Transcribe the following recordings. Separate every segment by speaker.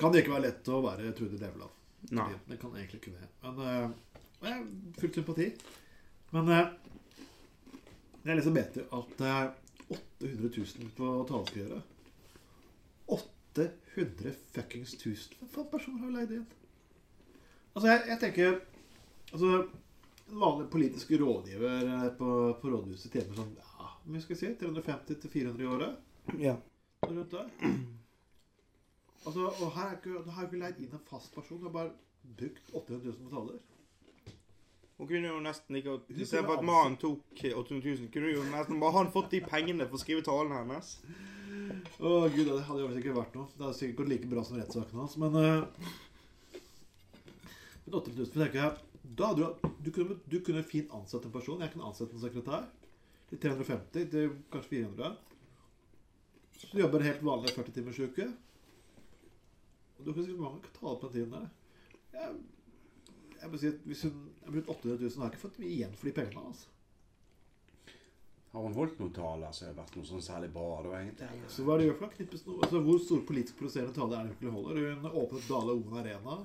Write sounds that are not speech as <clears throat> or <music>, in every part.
Speaker 1: kan det ikke være lett å være Trude Drevland.
Speaker 2: Nei.
Speaker 1: Det kan egentlig ikke det. Men eh, og jeg har full sympati. Men eh, jeg liksom vet jo at eh, det er 800 000 på taleskrivere. 800 fuckings 1000. Hva faen personer har jo leid inn? Altså, jeg, jeg tenker Altså, en vanlig politisk rådgiver eh, på, på rådhuset tjener sånn ja, hvor mye skal jeg si, 350 til 400 i året?
Speaker 2: Ja.
Speaker 1: rundt der. Altså, og her er ikke, her er ikke leid inn en fast person. Jeg har bare brukt 800 000 på taler.
Speaker 2: Hun kunne jo nesten ikke
Speaker 1: kunne
Speaker 2: Istedenfor at
Speaker 1: ansatt-
Speaker 2: mannen tok 800 000, kunne jo nesten bare han fått de pengene for å skrive talen hennes.
Speaker 1: Å gud, det hadde jo sikkert vært noe. Det hadde sikkert gått like bra som rettssaken hans, men eh, Men 800 000, for tenker jeg da hadde du, du, kunne, du kunne fint ansatt en person. Jeg kunne ansette en sekretær. Til 350, til kanskje 400. Så du jobber en helt vanlig 40-timersuke. Og du kunne sikkert mange taler på den tiden der. Jeg, jeg må si at hvis hun jeg har brukt 800 000, har jeg ikke fått mye igjen for de pengene. altså.
Speaker 3: Har hun holdt noen taler som har vært noe sånn særlig bra, da, egentlig?
Speaker 1: Så hva er det gjør for noe? Knippes noe? Altså, hvor stor politisk provoserende tale er det hun egentlig holder? Hun åpnet Dale Oven Arena.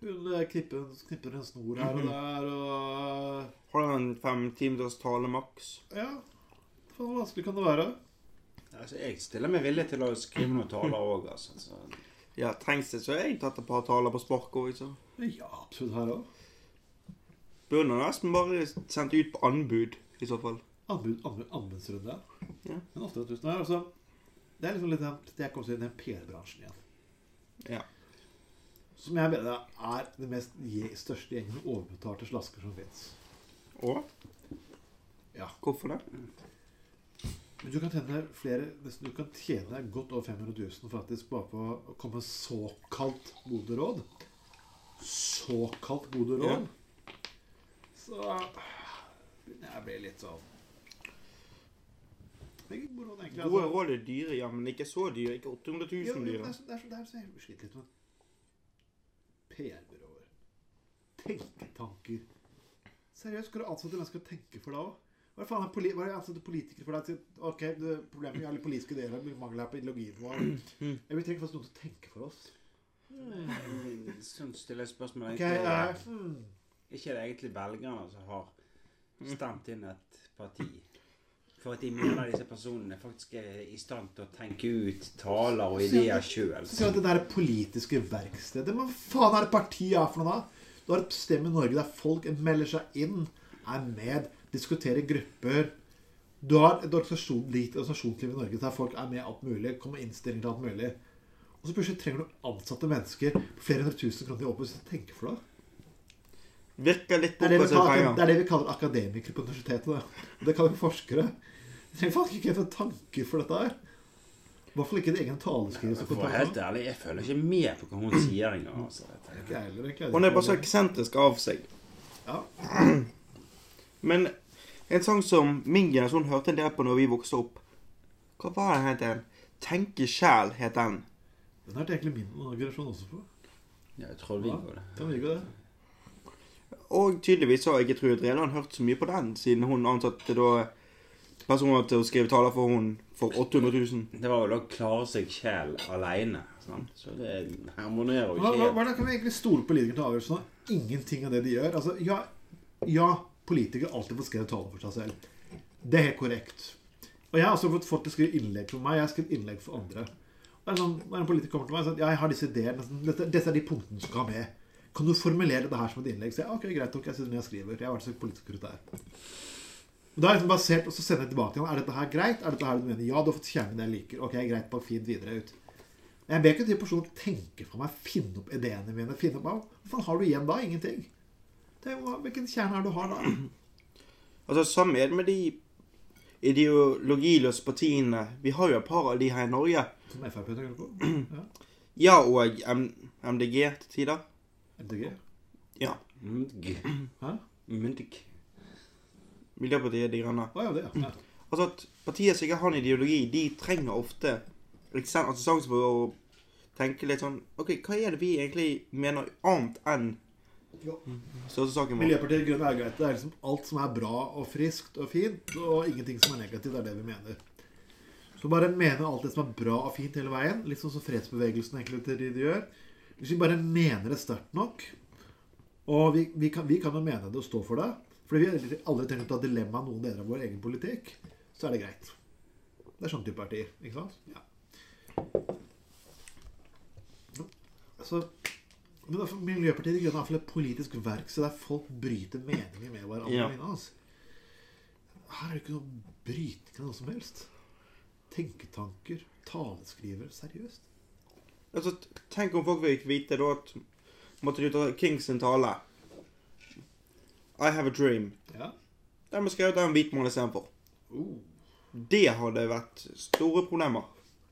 Speaker 1: Hun eh, knipper, knipper en snor her og der, og
Speaker 2: Har han en fem-ti minutters tale maks?
Speaker 1: Ja. Faen, hvor vanskelig kan det være?
Speaker 3: Altså, jeg stiller meg villig til å skrive noen taler òg, altså. Så.
Speaker 2: Ja, trengs det, så har jeg tatt et par taler på sparket òg, liksom.
Speaker 1: Ja, absolutt her òg.
Speaker 2: Burde han nesten bare sendt ut på anbud, i så fall.
Speaker 1: Anbud, anbud, anbudsrunde.
Speaker 2: Ja.
Speaker 1: Men 8000 her, altså Det er liksom litt den det jeg kom til i den PR-bransjen igjen.
Speaker 2: Ja.
Speaker 1: Som jeg mener er den mest je- største gjengen med overbetalte slasker som fins.
Speaker 2: Og?
Speaker 1: Ja.
Speaker 2: Hvorfor det?
Speaker 1: Men du kan tjene flere, nesten du kan tjene godt over 500 000 faktisk bare på å komme med såkalt gode råd. Såkalt gode råd. Så jeg blir litt sånn Det er ikke gode råd, egentlig.
Speaker 2: Gode
Speaker 1: altså.
Speaker 2: råd er dyre, ja, men ikke så dyre. Ikke 800
Speaker 1: Jo, jo,
Speaker 2: 000
Speaker 1: det er
Speaker 2: dyre.
Speaker 1: så- det er så- det er så jeg sliter litt med PR-byråer. Tenketanker. Seriøst, skal du ansette mennesker til å tenke for deg òg? Hva faen er poli hva er det jeg ansetter politikere for deg til? Ok, det, problemet vi har litt politiske deler, vi mangler her på ideologien vår. Ja, Vi trenger faktisk noen som tenker for oss.
Speaker 3: Sånn stiller jeg spørsmål.
Speaker 1: Ok, eh,
Speaker 3: egentlig.
Speaker 1: hmm.
Speaker 3: ikke det egentlig velgerne som har stemt inn et parti? For at de mener disse personene faktisk er i stand til å tenke ut taler og ideer sjøl.
Speaker 1: Så sier du at det der politiske verkstedet Men hva faen er det partiet er for noe da? Du har et sted i Norge der folk melder seg inn, er med, diskuterer grupper. Du har et organisasjon, lite organisasjonsliv i Norge der folk er med i alt mulig, kommer med innstillinger til alt mulig. Og så plutselig trenger du ansatte mennesker på flere hundre tusen kroner i året hvis du tenker for deg.
Speaker 2: Virker litt
Speaker 1: Det er det, vi
Speaker 2: bortkastet
Speaker 1: kaller, det
Speaker 2: penger.
Speaker 1: er det vi kaller akademikere på universitetet. Det, Og det kaller vi forskere. Du trenger faktisk ikke en tanke for dette her. I hvert fall ikke en egen taleskriver. som
Speaker 3: For å være
Speaker 1: kan
Speaker 3: helt
Speaker 1: ta det.
Speaker 3: ærlig, jeg føler ikke med på hva hun sier engang. Altså. Jeg tenker,
Speaker 1: Ikke jeg heller, egentlig.
Speaker 2: Og han er bare så eksentrisk av seg.
Speaker 1: Ja.
Speaker 2: Men en sang som min generasjon hørte en del på når vi vokste opp Hva var den het den? Tenke sjæl het den.
Speaker 1: Den er det egentlig min generasjon også på.
Speaker 3: Ja, jeg tror vi går det.
Speaker 1: Kan vi ikke det?
Speaker 2: Og tydeligvis har ikke Trude Drevland hørt så mye på den, siden hun ansatte da personer til å skrive taler for hun for 800 000.
Speaker 3: Det var vel å klare seg sjæl aleine. Så det harmonerer jo
Speaker 1: Hva- hva-
Speaker 3: ikke helt.
Speaker 1: Hvordan kan vi egentlig stole på politikere til avgjørelsen? når Ingenting av det de gjør. Altså, ja, ja politikere har alltid får skrevet taler for seg selv. Det er helt korrekt. Og jeg har også fått folk til å skrive innlegg for meg. Jeg har skrevet innlegg for andre. Og det er sånn, når en politiker kommer til meg og sier at ja, jeg har disse ideene, sånn, dette, dette er de punktene du skal ha med. Kan du formulere det her som et innlegg? Så jeg, ok, greit nok, jeg sitter ned og skriver. Jeg har vært så politisk korrekt der. Og da er det liksom basert, og så sender jeg tilbake til ham. Er dette her greit? Er dette her du mener? Ja, du har fått kjernen jeg liker. Ok, greit, bare fint videre ut. Jeg ber ikke til personen tenke for meg, finne opp ideene mine. finne opp, Hva faen har du igjen da? Ingenting. Det er, jo- hvilken kjerne er det du har da?
Speaker 2: Altså, Samme er det med de ideologiløse partiene. Vi har jo et par av de her i Norge.
Speaker 1: Som Frp tenker på? Ja.
Speaker 2: Ja og M MDG til tider.
Speaker 1: MDG?
Speaker 2: Ja.
Speaker 3: Mdg.
Speaker 1: Hæ?
Speaker 3: Mdg.
Speaker 2: Miljøpartiet De Grønne.
Speaker 1: Å ja, det, ja.
Speaker 2: Altså at partier som ikke har en ideologi, de trenger ofte eksen- altså sjansen for å tenke litt sånn OK, hva er det vi egentlig mener annet enn
Speaker 1: Ja.
Speaker 2: største saken vår?
Speaker 1: Miljøpartiet De Grønne er greit. Det er liksom alt som er bra og friskt og fint, og ingenting som er negativt, det er det vi mener. Så bare mene alt det som er bra og fint hele veien. Litt sånn som fredsbevegelsen egentlig til de de gjør. Hvis vi bare mener det sterkt nok, og vi, vi, kan, vi kan jo mene det og stå for det Fordi vi har aldri trenger å ta dilemma av noen deler av vår egen politikk, så er det greit. Det er sånn type partier, ikke sant? Ja. Så, men da, for Miljøpartiet De Grønne er i hvert fall et politisk verksted der folk bryter meninger med hverandre.
Speaker 2: Ja.
Speaker 1: og lignende, Altså. Her er det ikke noe bryting av noe som helst. Tenketanker, taleskriver Seriøst.
Speaker 2: Altså, tenk om folk fikk vite da at Måtte du ta Kings sin tale. I have a dream.
Speaker 1: Ja.
Speaker 2: Den ble skrevet av en hvit mann istedenfor.
Speaker 1: Oh,
Speaker 2: Det hadde vært store problemer.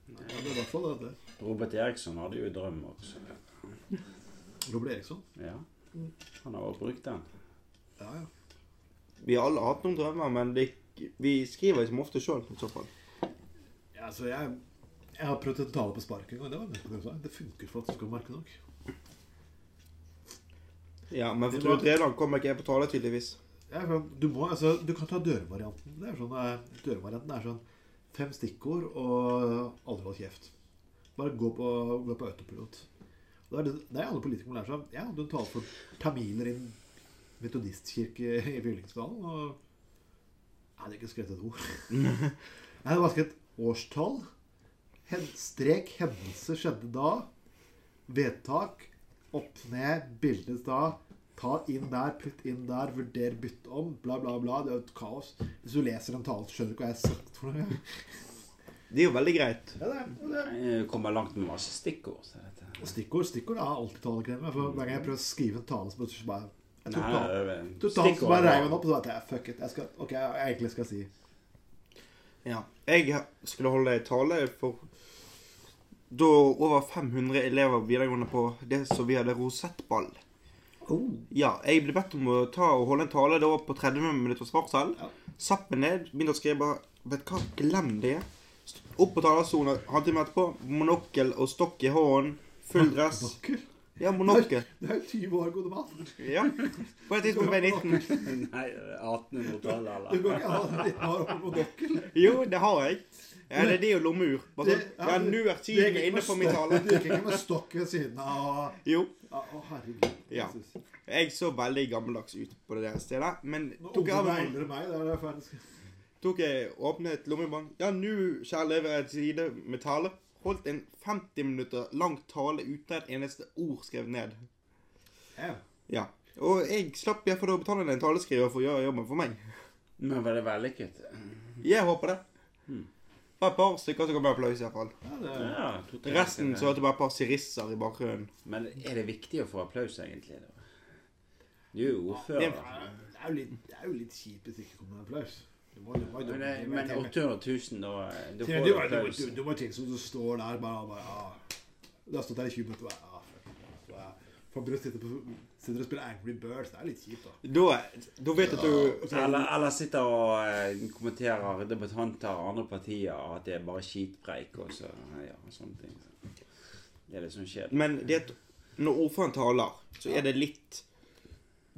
Speaker 1: ja, det er i hvert fall det.
Speaker 3: Robert Eriksson hadde jo drøm også.
Speaker 1: Robert Eriksson.
Speaker 3: Ja. Han har også brukt den.
Speaker 1: Ja, ja.
Speaker 2: Vi har alle hatt noen drømmer, men vi, vi skriver som ofte sjøl, i så fall.
Speaker 1: Ja, Altså, jeg, jeg har prøvd å tale på spark en gang. Det, var nesten det, jeg sa. det funker for at du skal merke nok.
Speaker 2: Ja, men for
Speaker 1: Det var-
Speaker 2: Trude Drevland kommer ikke jeg på tale, tydeligvis.
Speaker 1: Ja, for du, må, altså, du kan ta dørvarianten. Det er sånn, eh, dørvarianten er sånn fem stikkord og aldri hold kjeft. Bare gå på, gå på autopilot. Og Det er det, det er alle politikere må lære seg. Jeg hadde en tale for tamiler i en metodistkirke i Fyllingsdalen. Og jeg hadde ikke skrevet et ord. Jeg hadde bare skrevet årstall. Hen, strek hendelse skjedde da. Vedtak. Opp ned. Bildet da. Ta inn der, putt inn der, vurder, bytt om, bla, bla, bla. Det er jo et kaos. Hvis du leser den talen, så skjønner du ikke hva jeg har sagt. for noe.
Speaker 2: Det er jo veldig greit.
Speaker 1: Ja, det er, det er.
Speaker 3: Jeg kommer langt med masse stikkord. Så dette.
Speaker 1: Og Stikkord stikkord er alltid talekrevende. For hver gang jeg prøver å skrive en tale, så bare jeg tok
Speaker 3: Nei,
Speaker 1: talen.
Speaker 3: det er-
Speaker 1: Du tar den så bare
Speaker 3: var-
Speaker 1: reiv den opp, og så vet jeg fuck it. Jeg skal, ok, jeg egentlig skal si
Speaker 2: Ja. Jeg skulle holde en tale for da over 500 elever videregående på det som vi hadde rosettball.
Speaker 1: oh.
Speaker 2: Ja, jeg ble bedt om å ta og holde en tale da på 30 minutters varsel.
Speaker 1: Ja.
Speaker 2: Satt meg ned, begynte å skrive. Vet du hva, glem det. St- Opp på talerstolen en halvtime etterpå. Monokkel og stokk i hånden. Full dress.
Speaker 1: Monokkel?
Speaker 2: Ja, monokkel.
Speaker 1: Du er jo 20 år, gode mann.
Speaker 2: Ja. På et tidspunkt ble jeg 19.
Speaker 3: <laughs> Nei, 1800-tallet,
Speaker 1: Du
Speaker 3: eller?
Speaker 1: går ikke an å ha 19 år og monokkel.
Speaker 2: Jo, det har jeg. Ja, det er det og lommeur. Bare sånn, ja, nå er
Speaker 1: Du gikk
Speaker 2: tiden
Speaker 1: ikke
Speaker 2: inne
Speaker 1: med
Speaker 2: for min
Speaker 1: stokk-
Speaker 2: tale.
Speaker 1: Du gikk ikke med stokk ved siden av og-
Speaker 2: Jo.
Speaker 1: Å, å, herregud.
Speaker 2: Ja.
Speaker 1: Jesus.
Speaker 2: Jeg så veldig gammeldags ut på det der stedet, men
Speaker 1: Nå
Speaker 2: tok jeg,
Speaker 1: ungdommer er
Speaker 2: av-
Speaker 1: eldre enn meg. Det er det jeg faktisk
Speaker 2: tok jeg åpnet lommebånd. Ja, nå skal jeg leve et side med tale. Holdt en 50 minutter lang tale uten et eneste ord skrevet ned.
Speaker 1: Ja.
Speaker 2: Ja. Og jeg slapp iallfall å betale en taleskriver for å gjøre jobben for meg.
Speaker 3: Men var det vellykket?
Speaker 2: Jeg håper det.
Speaker 3: Hmm.
Speaker 2: Det var et par stykker som kom med applaus, iallfall.
Speaker 1: Ja, det er.
Speaker 3: Ja, to, tre
Speaker 2: Resten
Speaker 3: stykker.
Speaker 2: så hørte jeg bare et par sirisser i bakgrunnen.
Speaker 3: Men er det viktig å få applaus, egentlig? Da? Du er jo ordfører.
Speaker 2: Det-
Speaker 1: Det er jo litt, det er jo litt kjipt hvis det ikke kommer noen applaus. Du må, du må, du,
Speaker 3: Men, det-
Speaker 1: du,
Speaker 3: men
Speaker 1: du-
Speaker 3: 800 000, da Du
Speaker 1: Til-
Speaker 3: får
Speaker 1: du,
Speaker 3: jo
Speaker 1: du,
Speaker 3: applaus.
Speaker 1: du, du må tenke som du står der bare, bare ah. Du har stått der i 20 minutter bare ah, fuck, bare, Fabrus sitter, på- sitter og spiller Angry Birds. Det er litt kjipt, da.
Speaker 2: Da, da vet jeg at du
Speaker 3: Eller, eller sitter og eh, kommenterer debattanter og andre partier at det er bare skitpreik og så ja, og sånne ting. Det er det som skjer.
Speaker 2: Men det at når ordføreren taler, så er det litt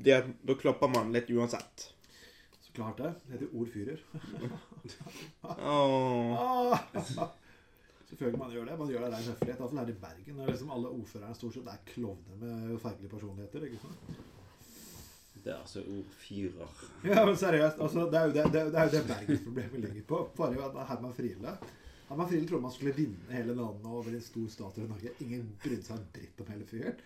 Speaker 2: det at Da klapper man litt uansett.
Speaker 1: Så klart det. Det heter ordfyrer.
Speaker 2: Åh.
Speaker 1: Ah, Selvfølgelig man gjør det. Man gjør det der i høflighet. Iallfall her i Bergen. Der liksom alle ordførerne stort sett er klovner med fergelige personligheter. ikke sant?
Speaker 3: Det er altså ordfyrer.
Speaker 1: Ja, men seriøst. Altså, det er jo det, det, det, er jo det Bergensproblemet ligger på. Bare jo at Herman Friele Herman Friele trodde man skulle vinne hele landet og bli en stor statsråd i Norge. Ingen brydde seg en dritt om hele fyren.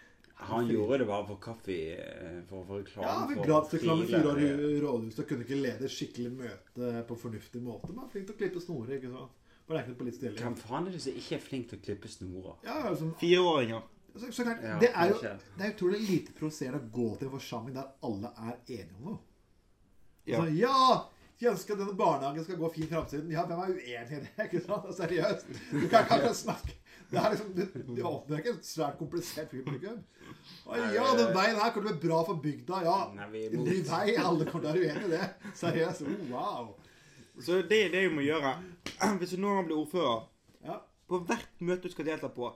Speaker 3: Han gjorde det bare for kaffe, eh, for å få reklame.
Speaker 1: Ja, men
Speaker 3: for
Speaker 1: gradsreklame fire år i
Speaker 3: friere.
Speaker 1: rådhuset og kunne ikke lede et skikkelig møte på en fornuftig måte. Man er flink til å klippe snorer, ikke sant. Bare det er ikke noe politisk deling.
Speaker 3: Hvem faen er det som ikke er flink til å klippe snorer?
Speaker 1: Ja, altså,
Speaker 2: Fireåringer.
Speaker 1: så, så klart,
Speaker 3: Ja,
Speaker 1: det er jo
Speaker 3: kanskje.
Speaker 1: det er utrolig lite provoserende å gå til en forsamling der alle er enige om noe.
Speaker 2: Ja.
Speaker 1: Altså, ja! Jeg ønsker at denne barnehagen skal gå fint i fremtiden. Ja, hvem er uenig i det? <laughs> Ikke sant? Altså, Seriøst. Du kan kan ikke snakke Det er liksom, du, du åpner ikke et svært komplisert publikum. Å ja, den veien her kommer til å bli bra for bygda. Ja,
Speaker 3: Nei, vi er imot.
Speaker 1: ny vei. Alle kommer til å være uenig i det. Seriøst. Oh, wow.
Speaker 2: Så det er det vi må gjøre. <clears throat> Hvis du noen gang blir ordfører,
Speaker 1: Ja.
Speaker 2: på hvert møte du skal delta på,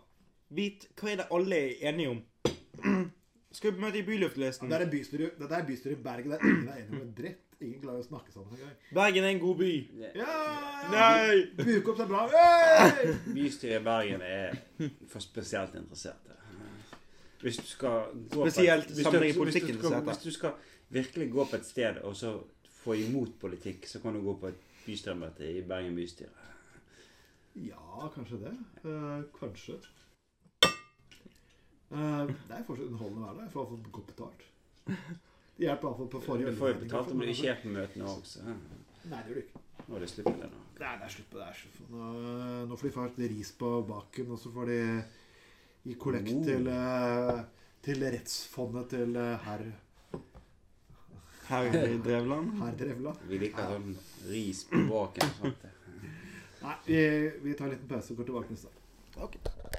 Speaker 2: vit hva er det alle er enige om. <clears throat> Skal vi på møte i
Speaker 1: Det
Speaker 2: byluftløsning?
Speaker 1: er bystyret bystyre i Bergen der ingen er enig om en dritt. Ingen klarer å snakke sammen engang.
Speaker 2: Bergen er en god by.
Speaker 3: Det-
Speaker 1: Ja!
Speaker 2: Nei!
Speaker 1: Bukopp er bra. Hey!
Speaker 3: Bystyret i Bergen er for spesielt interesserte. Hvis du skal gå på et-
Speaker 2: Spesielt
Speaker 3: hvis du-
Speaker 2: sammenheng i
Speaker 3: hvis du
Speaker 2: politikken,
Speaker 3: skal-
Speaker 2: som det heter.
Speaker 3: Hvis du skal virkelig gå på et sted og så få imot politikk, så kan du gå på et bystyremøte i Bergen bystyre.
Speaker 1: Ja, kanskje det. Eh, kanskje. Eh, det er fortsatt underholdende å være der. Jeg får iallfall godt betalt. Det hjelper iallfall på forrige
Speaker 3: Du får jo
Speaker 1: ølregning.
Speaker 3: betalt om du ikke er på møtene også.
Speaker 1: altså- Nei, det gjør du ikke.
Speaker 3: Nå er det slutt på det nå.
Speaker 1: Nei, det er slutt på det. her. så Nå, nå får de faktisk ris på baken, og så får de gi kollekt
Speaker 3: Oh.
Speaker 1: til, eh, til rettsfondet til eh, herr
Speaker 2: Her i Drevland.
Speaker 1: herr Drevla.
Speaker 3: Vi liker sånn ris på baken. og sånt.
Speaker 1: Nei, vi, vi tar en liten pause og går tilbake neste gang.
Speaker 2: Okay.